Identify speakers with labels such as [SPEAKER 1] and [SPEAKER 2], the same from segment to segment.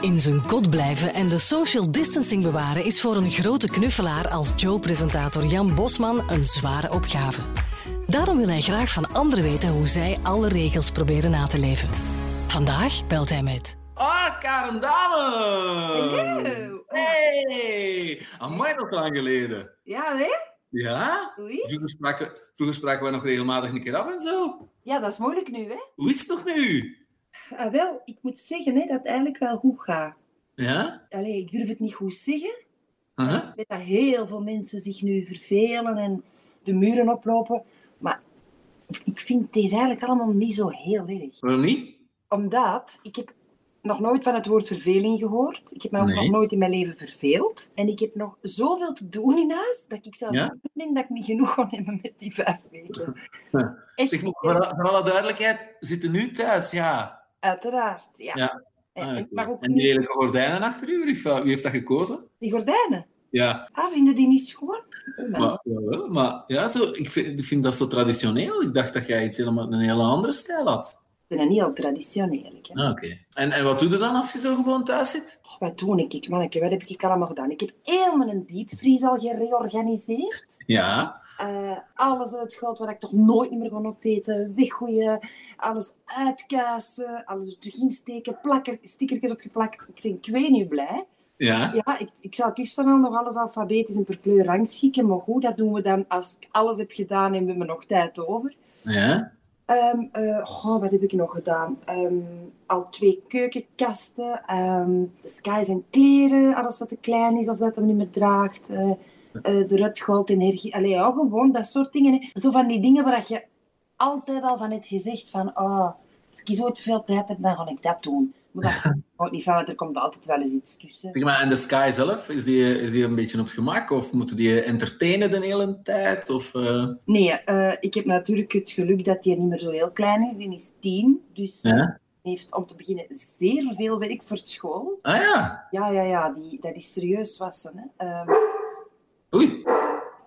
[SPEAKER 1] In zijn kot blijven en de social distancing bewaren is voor een grote knuffelaar als Joe-presentator Jan Bosman een zware opgave. Daarom wil hij graag van anderen weten hoe zij alle regels proberen na te leven. Vandaag belt hij met.
[SPEAKER 2] Ah, Karen Dalen!
[SPEAKER 3] Hallo.
[SPEAKER 2] Hey! Amai, dat is lang geleden.
[SPEAKER 3] Ja, hè?
[SPEAKER 2] Ja?
[SPEAKER 3] Hoe is?
[SPEAKER 2] Vroeger spraken, vroeger spraken we nog regelmatig een keer af en zo.
[SPEAKER 3] Ja, dat is moeilijk nu, hè?
[SPEAKER 2] Hoe is het nog met u?
[SPEAKER 3] Ah, wel, ik moet zeggen hè, dat het eigenlijk wel goed gaat.
[SPEAKER 2] Ja?
[SPEAKER 3] Allee, ik durf het niet goed zeggen.
[SPEAKER 2] Aha.
[SPEAKER 3] Ik weet dat heel veel mensen zich nu vervelen en de muren oplopen. Maar ik vind deze eigenlijk allemaal niet zo heel erg.
[SPEAKER 2] Waarom niet?
[SPEAKER 3] Omdat ik heb nog nooit van het woord verveling gehoord. Ik heb me ook
[SPEAKER 2] Nee.
[SPEAKER 3] nog nooit in mijn leven verveeld. En ik heb nog zoveel te doen in huis, dat ik zelfs
[SPEAKER 2] Ja?
[SPEAKER 3] neem dat ik niet genoeg kan nemen met die vijf weken.
[SPEAKER 2] Ja.
[SPEAKER 3] Echt,
[SPEAKER 2] Zeg, maar
[SPEAKER 3] niet, hè.
[SPEAKER 2] voor, alle- voor alle duidelijkheid, we zitten nu thuis, ja.
[SPEAKER 3] uiteraard. Ja.
[SPEAKER 2] Ja.
[SPEAKER 3] En,
[SPEAKER 2] Ah,
[SPEAKER 3] en ik mag
[SPEAKER 2] oké.
[SPEAKER 3] ook
[SPEAKER 2] en
[SPEAKER 3] niet
[SPEAKER 2] die hele gordijnen achter u, rug, wie heeft dat gekozen?
[SPEAKER 3] Die gordijnen.
[SPEAKER 2] Ja,
[SPEAKER 3] Ah, vinden die niet schoon?
[SPEAKER 2] maar, jawel, maar ja, zo, ik, vind, ik vind dat zo traditioneel. Ik dacht dat jij iets helemaal, een hele andere stijl had.
[SPEAKER 3] Ze zijn heel traditioneel. Hè.
[SPEAKER 2] Ah, Oké. En, en wat doe je dan als je zo gewoon thuis zit?
[SPEAKER 3] Och, wat doe ik, ik, manneke? Wat heb ik allemaal gedaan? Ik heb heel mijn diepvries al gereorganiseerd.
[SPEAKER 2] Ja.
[SPEAKER 3] Eh, alles dat het goud wat ik toch nooit meer kon opeten, weggooien. eh, Alles uitkassen, alles er terug insteken, plakker, stickertjes opgeplakt. Ik ben ik weet niet blij.
[SPEAKER 2] Ja.
[SPEAKER 3] Ja, ik, ik zou het liefst dan al nog alles alfabetisch en per kleur rangschikken. Maar goed, dat doen we dan als ik alles heb gedaan en we hebben nog tijd over.
[SPEAKER 2] Ja.
[SPEAKER 3] Ehm, eh, goh, wat heb ik nog gedaan? Ehm, al twee keukenkasten. ehm de sky zijn kleren, alles wat te klein is of dat hem niet meer draagt. eh, eh, de rutgold, energie. Allee, ja, gewoon dat soort dingen. hè. Zo van die dingen waar dat je altijd al van hebt gezegd van... ah, als ik zo te veel tijd heb, dan ga ik dat doen. Maar dat houdt niet van, want er komt altijd wel eens iets tussen.
[SPEAKER 2] Zeg maar, en de Sky zelf, is die, is die een beetje op het gemak? Of moeten die entertainen de hele tijd? Of, eh,
[SPEAKER 3] Nee, eh, ik heb natuurlijk het geluk dat die niet meer zo heel klein is. Die is tien, dus...
[SPEAKER 2] Ja.
[SPEAKER 3] die heeft om te beginnen zeer veel werk voor school.
[SPEAKER 2] Ah ja,
[SPEAKER 3] Ja, ja, ja, die, dat is serieus wassen. Hè. Ehm,
[SPEAKER 2] oei,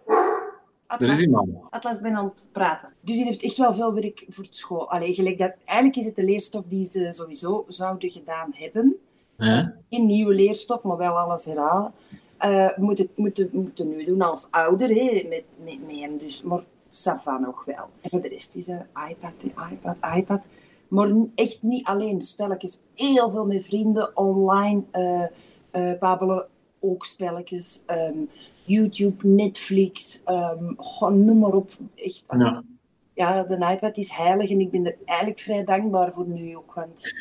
[SPEAKER 2] er is
[SPEAKER 3] Atlas,
[SPEAKER 2] iemand.
[SPEAKER 3] Atlas ben aan het praten. Dus die heeft echt wel veel werk voor het school. Allee, gelijk dat, eigenlijk is het de leerstof die ze sowieso zouden gedaan hebben.
[SPEAKER 2] Ja.
[SPEAKER 3] Geen nieuwe leerstof, maar wel alles herhalen. Eh moet het moeten moeten nu doen als ouder, hè, met, met, met hem dus. Maar Sava nog wel. En voor de rest is er iPad, hè, iPad, iPad. Maar n- echt niet alleen spelletjes. Heel veel met vrienden online eh eh, babbelen. Ook spelletjes. ehm, YouTube, Netflix, ehm, goh, noem maar op. Echt,
[SPEAKER 2] Ja.
[SPEAKER 3] ja, de iPad is heilig en ik ben er eigenlijk vrij dankbaar voor nu ook. Want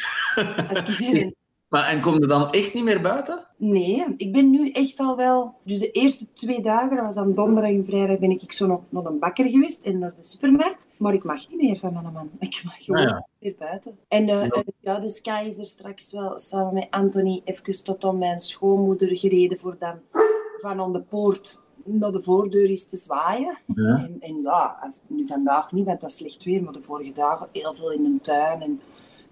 [SPEAKER 3] als ik hier in-
[SPEAKER 2] Maar, en kom je dan echt niet meer buiten?
[SPEAKER 3] Nee, ik ben nu echt al wel... Dus de eerste twee dagen, dat was dan donderdag en vrijdag, ben ik zo nog naar een bakker geweest en naar de supermarkt. Maar ik mag niet meer van mijn man. Ik mag gewoon
[SPEAKER 2] Ah, ja.
[SPEAKER 3] niet meer buiten. En eh,
[SPEAKER 2] Ja.
[SPEAKER 3] en ja, de Sky is er straks wel samen met Anthony even tot aan mijn schoonmoeder gereden voor dan van aan de poort naar de voordeur is te zwaaien.
[SPEAKER 2] Ja.
[SPEAKER 3] En, en ja, als, nu vandaag niet, want het was slecht weer, maar de vorige dagen heel veel in de tuin en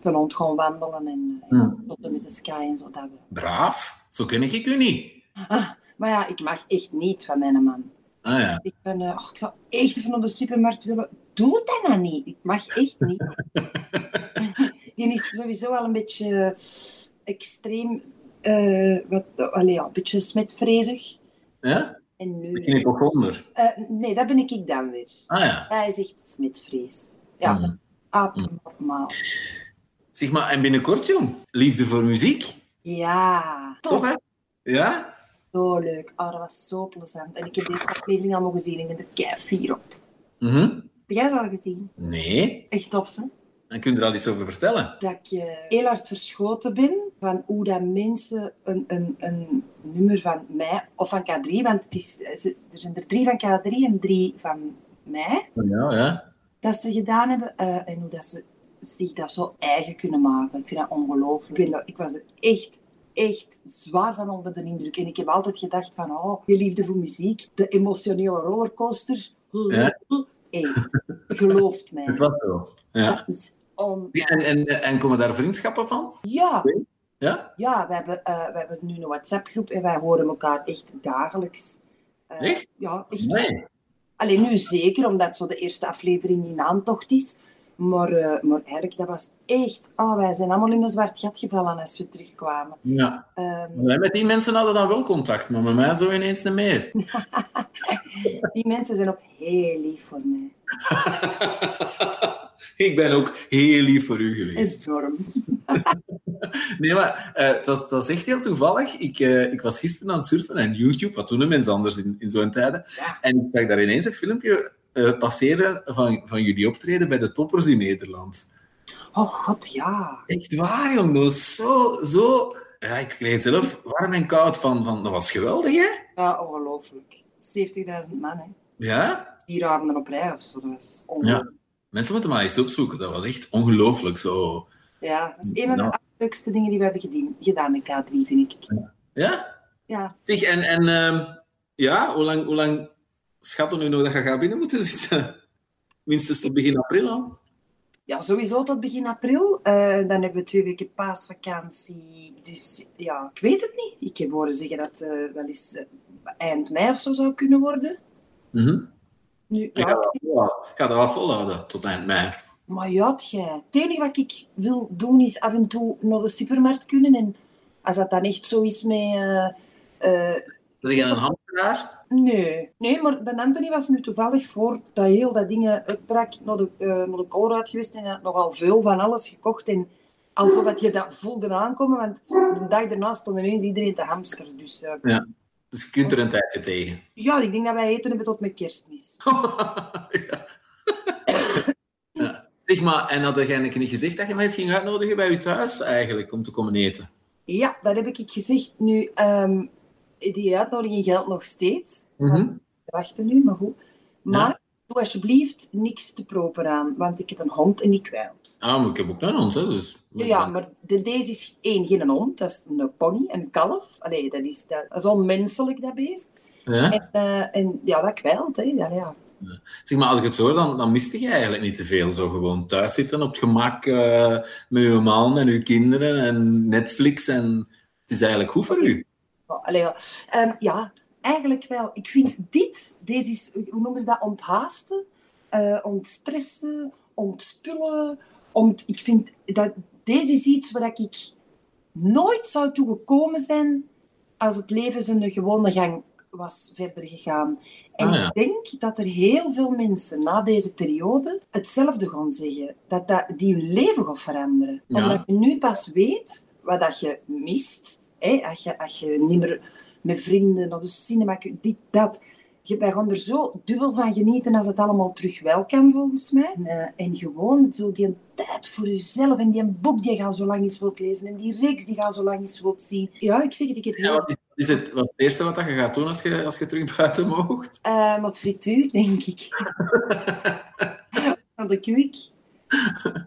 [SPEAKER 3] de hond gewoon wandelen en, en
[SPEAKER 2] Hmm.
[SPEAKER 3] tot en met de Sky en zo, dat wel.
[SPEAKER 2] Braaf, zo ken ik u niet.
[SPEAKER 3] Ah, maar ja, ik mag echt niet van mijn man.
[SPEAKER 2] Ah ja,
[SPEAKER 3] Ik, ben, eh, oh, ik zou echt even naar de supermarkt willen. Doe dat dan niet. Ik mag echt niet. Die is sowieso al een beetje eh, extreem, eh, wat, eh, allee, ja, een beetje smetvrezig.
[SPEAKER 2] ja?
[SPEAKER 3] En nu,
[SPEAKER 2] ik ken ik ook onder.
[SPEAKER 3] eh, nee, dat ben ik ik dan weer.
[SPEAKER 2] Ah ja.
[SPEAKER 3] Hij is echt smetvrees. Ja,
[SPEAKER 2] Mhm.
[SPEAKER 3] abnormaal.
[SPEAKER 2] Zeg maar, en binnenkort, jong, liefde voor muziek.
[SPEAKER 3] Ja,
[SPEAKER 2] Toch,
[SPEAKER 3] toch?
[SPEAKER 2] hè? Ja?
[SPEAKER 3] Zo leuk. Oh, dat was zo plezant. En ik heb de eerste aflevering allemaal gezien. Ik ben er kei fier op. Heb
[SPEAKER 2] Mhm.
[SPEAKER 3] jij ze al gezien?
[SPEAKER 2] Nee,
[SPEAKER 3] Echt tof, hè?
[SPEAKER 2] dan kun je er al iets over vertellen.
[SPEAKER 3] dat ik eh, heel hard verschoten ben van hoe dat mensen een, een, een nummer van mij of van K3, want het is, eh, ze- er zijn er drie van K3 en drie van mij,
[SPEAKER 2] Ja, ja.
[SPEAKER 3] dat ze gedaan hebben eh, en hoe dat ze zich dat zo eigen kunnen maken. Ik vind dat ongelooflijk. Ik, ben daar- ik was er echt, echt zwaar van onder de indruk. En ik heb altijd gedacht van, oh, die liefde voor muziek, de emotionele rollercoaster.
[SPEAKER 2] Ja.
[SPEAKER 3] Hey, gelooft mij.
[SPEAKER 2] Het was zo. Ja.
[SPEAKER 3] Dat is on...
[SPEAKER 2] En, en, en komen daar vriendschappen van?
[SPEAKER 3] Ja,
[SPEAKER 2] Ja?
[SPEAKER 3] Ja, we hebben, eh, we hebben nu een WhatsApp-groep en wij horen elkaar echt dagelijks. Eh,
[SPEAKER 2] Echt?
[SPEAKER 3] Ja, echt.
[SPEAKER 2] Nee.
[SPEAKER 3] Alleen nu zeker, omdat zo de eerste aflevering in aantocht is. Maar, eh, maar eigenlijk, dat was echt... Oh, wij zijn allemaal in een zwart gat gevallen als we terugkwamen.
[SPEAKER 2] Ja.
[SPEAKER 3] Ehm,
[SPEAKER 2] Wij met die mensen hadden dan wel contact, maar met mij zo ineens niet meer.
[SPEAKER 3] die mensen zijn ook heel lief voor mij.
[SPEAKER 2] ik ben ook heel lief voor u geweest.
[SPEAKER 3] Enorm.
[SPEAKER 2] Nee, maar eh, het, was, het was echt heel toevallig. Ik, eh, ik was gisteren aan het surfen en YouTube, wat doen de mensen anders in, in zo'n tijden.
[SPEAKER 3] Ja.
[SPEAKER 2] En ik zag daar ineens een filmpje eh, passeren van, van jullie optreden bij de toppers in Nederland.
[SPEAKER 3] Oh god, ja.
[SPEAKER 2] Echt waar, jong. Dat was zo... zo... Ja, ik kreeg het zelf warm en koud van, van... Dat was geweldig, hè?
[SPEAKER 3] Ja, ongelooflijk. 70.000 man, hè.
[SPEAKER 2] Ja?
[SPEAKER 3] Vier avonden op rij of zo. Dat was
[SPEAKER 2] Ja.
[SPEAKER 3] ongelooflijk.
[SPEAKER 2] Mensen moeten maar eens opzoeken. Dat was echt ongelooflijk zo.
[SPEAKER 3] Ja. dat is een van de
[SPEAKER 2] Ja.
[SPEAKER 3] allerleukste dingen die we hebben gedien- gedaan met K3, vind ik.
[SPEAKER 2] Ja?
[SPEAKER 3] Ja,
[SPEAKER 2] Zeg, en... en ehm, ja, hoe lang, hoe lang schatten we nog dat je gaat binnen moeten zitten? Minstens tot begin april al.
[SPEAKER 3] ja sowieso tot begin april. Eh, dan hebben we twee weken paasvakantie. Dus ja, ik weet het niet. Ik heb horen zeggen dat het wel eens eh, eind mei of zo zou kunnen worden.
[SPEAKER 2] Mhm.
[SPEAKER 3] Nu,
[SPEAKER 2] Ik
[SPEAKER 3] ja,
[SPEAKER 2] ga, dat volhouden. Ik ga dat wel volhouden tot eind mei.
[SPEAKER 3] Maar ja, jij. Het enige wat ik wil doen is af en toe naar de supermarkt kunnen. En als dat dan echt zo is met. eh, eh,
[SPEAKER 2] Dat is een hamsteraar.
[SPEAKER 3] nee. nee, maar de Anthony was nu toevallig voor dat heel dat ding eh, uitbrak naar de, eh naar de Colruyt geweest. En hij had nogal veel van alles gekocht. En alsof dat je dat voelde aankomen. Want de dag daarna stond ineens iedereen te hamster. Dus eh,
[SPEAKER 2] Dus je kunt er een tijdje tegen.
[SPEAKER 3] ja, ik denk dat wij eten hebben tot met kerstmis.
[SPEAKER 2] ja. Ja. Zeg maar, en had jij niet gezegd dat je mensen ging uitnodigen bij je thuis eigenlijk om te komen eten?
[SPEAKER 3] Ja, dat heb ik gezegd. Nu, ehm, die uitnodiging geldt nog steeds.
[SPEAKER 2] Mhm.
[SPEAKER 3] te wachten nu, maar goed. Maar doe alsjeblieft niks te proper aan, want ik heb een hond en die kwijlt.
[SPEAKER 2] Ah, maar ik heb ook een hond, hè, dus...
[SPEAKER 3] Ja, maar de, deze is één, geen een hond, dat is een pony, een kalf. Allee, dat is, dat, dat is onmenselijk, dat beest.
[SPEAKER 2] Ja?
[SPEAKER 3] En, eh, en ja, dat kwijlt, hè. Ja, ja.
[SPEAKER 2] Zeg maar, als ik het zo hoor, dan, dan miste je eigenlijk niet te veel. Zo gewoon thuis zitten op het gemak eh, met je man en je kinderen en Netflix en... Het is eigenlijk goed voor u.
[SPEAKER 3] Maar, allee, ja. Ehm, ja, eigenlijk wel. Ik vind dit, deze is, hoe noemen ze dat, onthaasten, eh, ontstressen, ontspullen. Ont, ik vind, dat, deze is iets waar ik nooit zou toe gekomen zijn als het leven zijn gewone gang was verder gegaan. En
[SPEAKER 2] Ah, ja.
[SPEAKER 3] ik denk dat er heel veel mensen na deze periode hetzelfde gaan zeggen. Dat, dat die hun leven gaan veranderen.
[SPEAKER 2] Ja.
[SPEAKER 3] Omdat je nu pas weet wat dat je mist. Hè? Als, je, als je niet meer met vrienden naar de cinema kunt, dit, dat. Je, wij gaan er zo dubbel van genieten als het allemaal terug wel kan, volgens mij. En, eh, en gewoon zo die tijd voor jezelf en die boek die je al zo lang eens wilt lezen en die reeks die je al zo lang eens wilt zien. Ja, ik zeg het, ik heb
[SPEAKER 2] Ja,
[SPEAKER 3] heel
[SPEAKER 2] wat is, is het, wat is het eerste wat dat je gaat doen als je, als je terug buiten mocht?
[SPEAKER 3] Eh, wat frituur, denk ik. Van de kwik.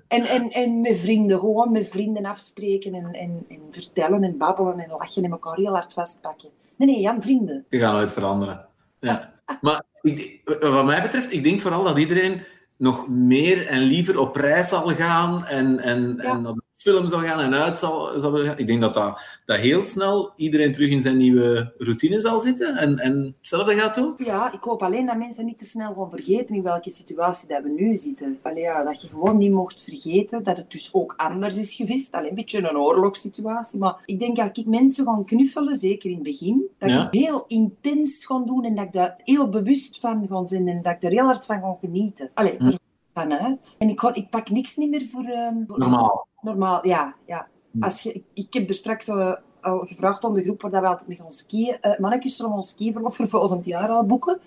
[SPEAKER 3] En, en, en met vrienden, gewoon met vrienden afspreken en, en, en vertellen en babbelen en lachen en elkaar heel hard vastpakken. Nee, nee, Jan, vrienden.
[SPEAKER 2] Je gaat nooit veranderen. Ja. Maar ik, wat mij betreft, ik denk vooral dat iedereen nog meer en liever op reis zal gaan en, en,
[SPEAKER 3] Ja.
[SPEAKER 2] en op film zal gaan en uit zal, zal willen gaan. Ik denk dat, dat dat heel snel iedereen terug in zijn nieuwe routine zal zitten en, en hetzelfde gaat doen.
[SPEAKER 3] Ja, ik hoop alleen dat mensen niet te snel gaan vergeten in welke situatie dat we nu zitten. Allee, ja, dat je gewoon niet mocht vergeten dat het dus ook anders is geweest. Alleen een beetje een oorlogssituatie. Maar ik denk dat ik mensen gaan knuffelen, zeker in het begin, dat
[SPEAKER 2] Ja.
[SPEAKER 3] ik heel intens ga doen en dat ik daar heel bewust van ga zijn en dat ik er heel hard van ga genieten. Allee,
[SPEAKER 2] Hm.
[SPEAKER 3] er vanuit. En ik, ga, ik pak niks niet meer voor... ehm, voor-
[SPEAKER 2] Normaal.
[SPEAKER 3] Normaal, ja. ja.
[SPEAKER 2] Hm.
[SPEAKER 3] Als je, ik, ik heb er straks eh, al gevraagd aan de groep waar dat we altijd mee gaan skiën. eh mannetjes zullen ons skiverlof voor volgend jaar al boeken.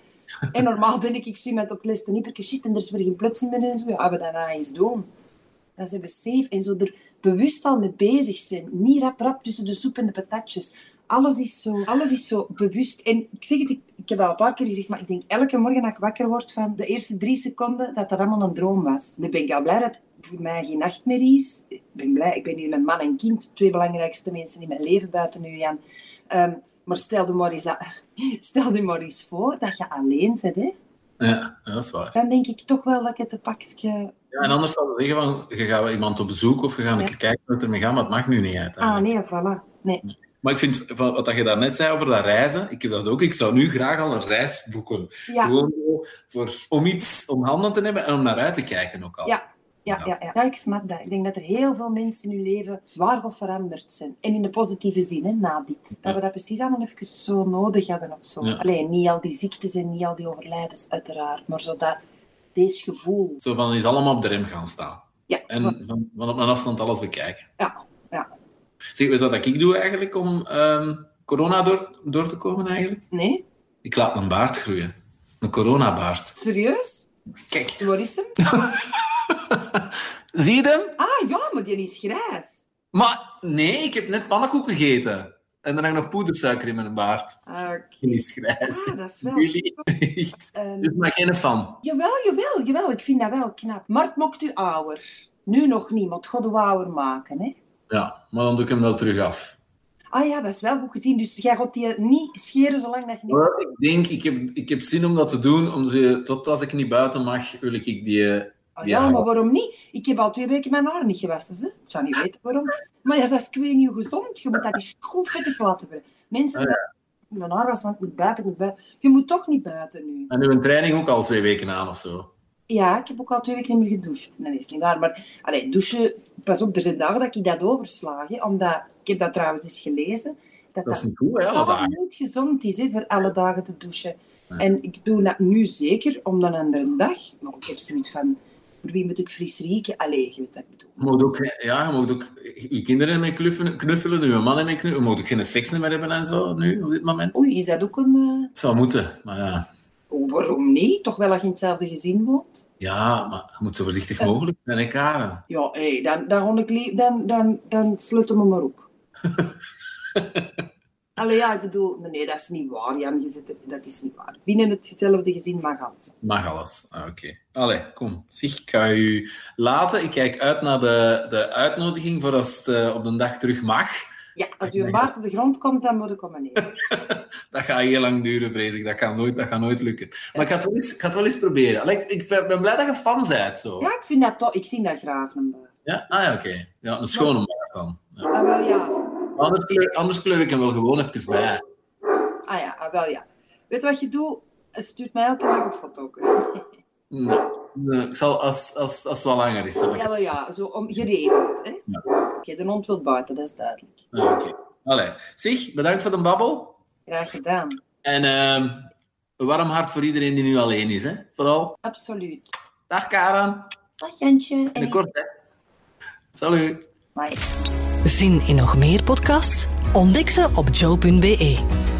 [SPEAKER 3] En normaal ben ik, ik zie met op het lijst een hyperke shit en er is weer geen plotseling meer in. en Zo, ja, we daarna eens doen. Dan zijn we safe. En zo er bewust al mee bezig zijn. Niet rap rap tussen de soep en de patatjes. Alles is zo, alles is zo bewust. En ik zeg het, ik, ik heb al een paar keer gezegd, maar ik denk elke morgen dat ik wakker word van de eerste drie seconden dat dat allemaal een droom was. Dan ben ik al blij dat het voor mij geen nachtmerrie is. Ik ben blij, ik ben hier met man en kind, twee belangrijkste mensen in mijn leven buiten nu, Jan. Ehm, maar stel je maar, eens a- stel je maar eens voor dat je alleen bent, hè?
[SPEAKER 2] Ja, ja, dat is waar.
[SPEAKER 3] dan denk ik toch wel dat ik het een pakje...
[SPEAKER 2] Ja, en anders zou je zeggen, van, je gaat wel iemand op bezoek of je gaat een
[SPEAKER 3] Ja.
[SPEAKER 2] keer kijken wat er mee gaat, maar het mag nu niet uit.
[SPEAKER 3] Ah, nee, voilà. Nee.
[SPEAKER 2] Maar ik vind, van wat dat je daarnet zei over dat reizen, ik heb dat ook. Ik zou nu graag al een reis boeken.
[SPEAKER 3] Ja.
[SPEAKER 2] Gewoon zo voor, om iets om handen te hebben en om naar uit te kijken ook al.
[SPEAKER 3] Ja, Ja, ja, ja. ja, ik snap dat. Ik denk dat er heel veel mensen in hun leven zwaar of veranderd zijn. En in de positieve zin, hè, na dit. Dat we dat precies allemaal even zo nodig hadden of zo.
[SPEAKER 2] Ja.
[SPEAKER 3] Alleen niet al die ziektes en niet al die overlijdens, uiteraard. Maar zodat deze gevoel...
[SPEAKER 2] Zo van, is allemaal op de rem gaan staan.
[SPEAKER 3] Ja,
[SPEAKER 2] En
[SPEAKER 3] van-
[SPEAKER 2] van, van op een afstand alles bekijken.
[SPEAKER 3] ja, ja.
[SPEAKER 2] Zeg, weet je wat ik doe eigenlijk om ehm, corona door, door te komen eigenlijk?
[SPEAKER 3] Nee?
[SPEAKER 2] Ik laat een baard groeien. Een coronabaard.
[SPEAKER 3] Serieus?
[SPEAKER 2] Kijk.
[SPEAKER 3] Waar is hem?
[SPEAKER 2] Zie je hem?
[SPEAKER 3] Ah, ja, maar die is grijs.
[SPEAKER 2] Maar nee, ik heb net pannenkoeken gegeten. En dan heb ik nog poedersuiker in mijn baard.
[SPEAKER 3] Ah, Oké.
[SPEAKER 2] Die is grijs.
[SPEAKER 3] Ah, dat is wel...
[SPEAKER 2] Jullie, echt.
[SPEAKER 3] Ehm,
[SPEAKER 2] Dus maak geen fan.
[SPEAKER 3] Jawel, jawel, jawel. Ik vind dat wel knap. Maar het mocht u ouder. Nu nog niet, maar het gaat u ouder maken, hè.
[SPEAKER 2] Ja, maar dan doe ik hem wel terug af.
[SPEAKER 3] Ah ja, dat is wel goed gezien. Dus jij gaat die niet scheren zolang dat je niet...
[SPEAKER 2] Maar ik denk, ik heb, ik heb zin om dat te doen. Om ze, tot als ik niet buiten mag, wil ik die... eh,
[SPEAKER 3] Ah ja,
[SPEAKER 2] Ja.
[SPEAKER 3] maar waarom niet? Ik heb al twee weken mijn haar niet gewassen. Hè? Ik zou niet weten waarom. Maar ja, dat is ik weet niet gezond. Je moet dat eens goed vettig laten worden. Mensen,
[SPEAKER 2] Ah,
[SPEAKER 3] mijn haar was, want ik moet buiten, ik moet buiten. Je moet toch niet buiten nu.
[SPEAKER 2] En nu een training ook al twee weken aan of zo.
[SPEAKER 3] Ja, ik heb ook al twee weken niet meer gedoucht. Nee, dat is niet waar. Maar allee, douchen, pas op, er zijn dagen dat ik dat oversla. Hè, omdat, ik heb dat trouwens eens gelezen, dat
[SPEAKER 2] Dat is
[SPEAKER 3] dat
[SPEAKER 2] niet goed, hè, alle
[SPEAKER 3] totaal
[SPEAKER 2] dagen.
[SPEAKER 3] niet gezond is hè, voor alle dagen te douchen. En ik doe dat nu zeker om de andere dag. Maar ik heb zoiets van, voor wie moet ik fris rieken? Allee, je weet wat ik bedoel.
[SPEAKER 2] Je mag ook, ja, je mag ook je kinderen mee knuffelen, knuffelen je mannen mee knuffelen. Je mag ook geen seks meer hebben en zo, nu, op dit moment.
[SPEAKER 3] Oei, is dat ook een... eh,
[SPEAKER 2] Het zou moeten, maar ja.
[SPEAKER 3] oh, waarom niet? Toch wel als je in hetzelfde gezin woont?
[SPEAKER 2] Ja, maar je moet zo voorzichtig mogelijk zijn, hè, Karen.
[SPEAKER 3] Ja, hé, dan, dan, rond ik lie- dan, dan, dan sluiten we maar op. Allee, ja, ik bedoel... maar Nee, dat is niet waar, Jan. Je zit, dat is niet waar. Binnen hetzelfde gezin mag alles.
[SPEAKER 2] Mag alles. Ah, Oké. Allee, kom. Zeg, ik ga u laten. Ik kijk uit naar de, de uitnodiging voor als het eh, op de dag terug mag.
[SPEAKER 3] Ja, als je baard op de grond komt, dan moet ik komen nemen.
[SPEAKER 2] Dat gaat heel lang duren, vrees ik. Dat gaat nooit, dat gaat nooit lukken. Maar ik ga het wel eens, ik ga het wel eens proberen. Allee, ik, ik ben blij dat je fan bent. Zo.
[SPEAKER 3] Ja, ik vind dat toch... Ik zie dat graag, een baard.
[SPEAKER 2] Ja? Ah ja, oké. Ja, een schone maag dan. Ja.
[SPEAKER 3] Ah, wel ja.
[SPEAKER 2] Anders kleur, anders kleur ik hem wel gewoon even bij.
[SPEAKER 3] Ah ja, ah, wel ja. Weet wat je doet? Stuurt mij elke dag een foto.
[SPEAKER 2] Nee, nee, ik zal, als, als, als het wel langer is, zal ik...
[SPEAKER 3] Ja, wel ja. Zo om, geregeld, hè?
[SPEAKER 2] Ja.
[SPEAKER 3] Oké, de hond wil buiten, dat is duidelijk.
[SPEAKER 2] Ah, oké. Allee. Zeg, bedankt voor de babbel.
[SPEAKER 3] Graag gedaan.
[SPEAKER 2] En ehm, een warm hart voor iedereen die nu alleen is, hè? Vooral.
[SPEAKER 3] Absoluut.
[SPEAKER 2] Dag, Karen.
[SPEAKER 3] Dag Jantje. En
[SPEAKER 2] Binnenkort, hè. Salut.
[SPEAKER 3] Bye.
[SPEAKER 1] Zin in nog meer podcasts? Ontdek ze op joe.be.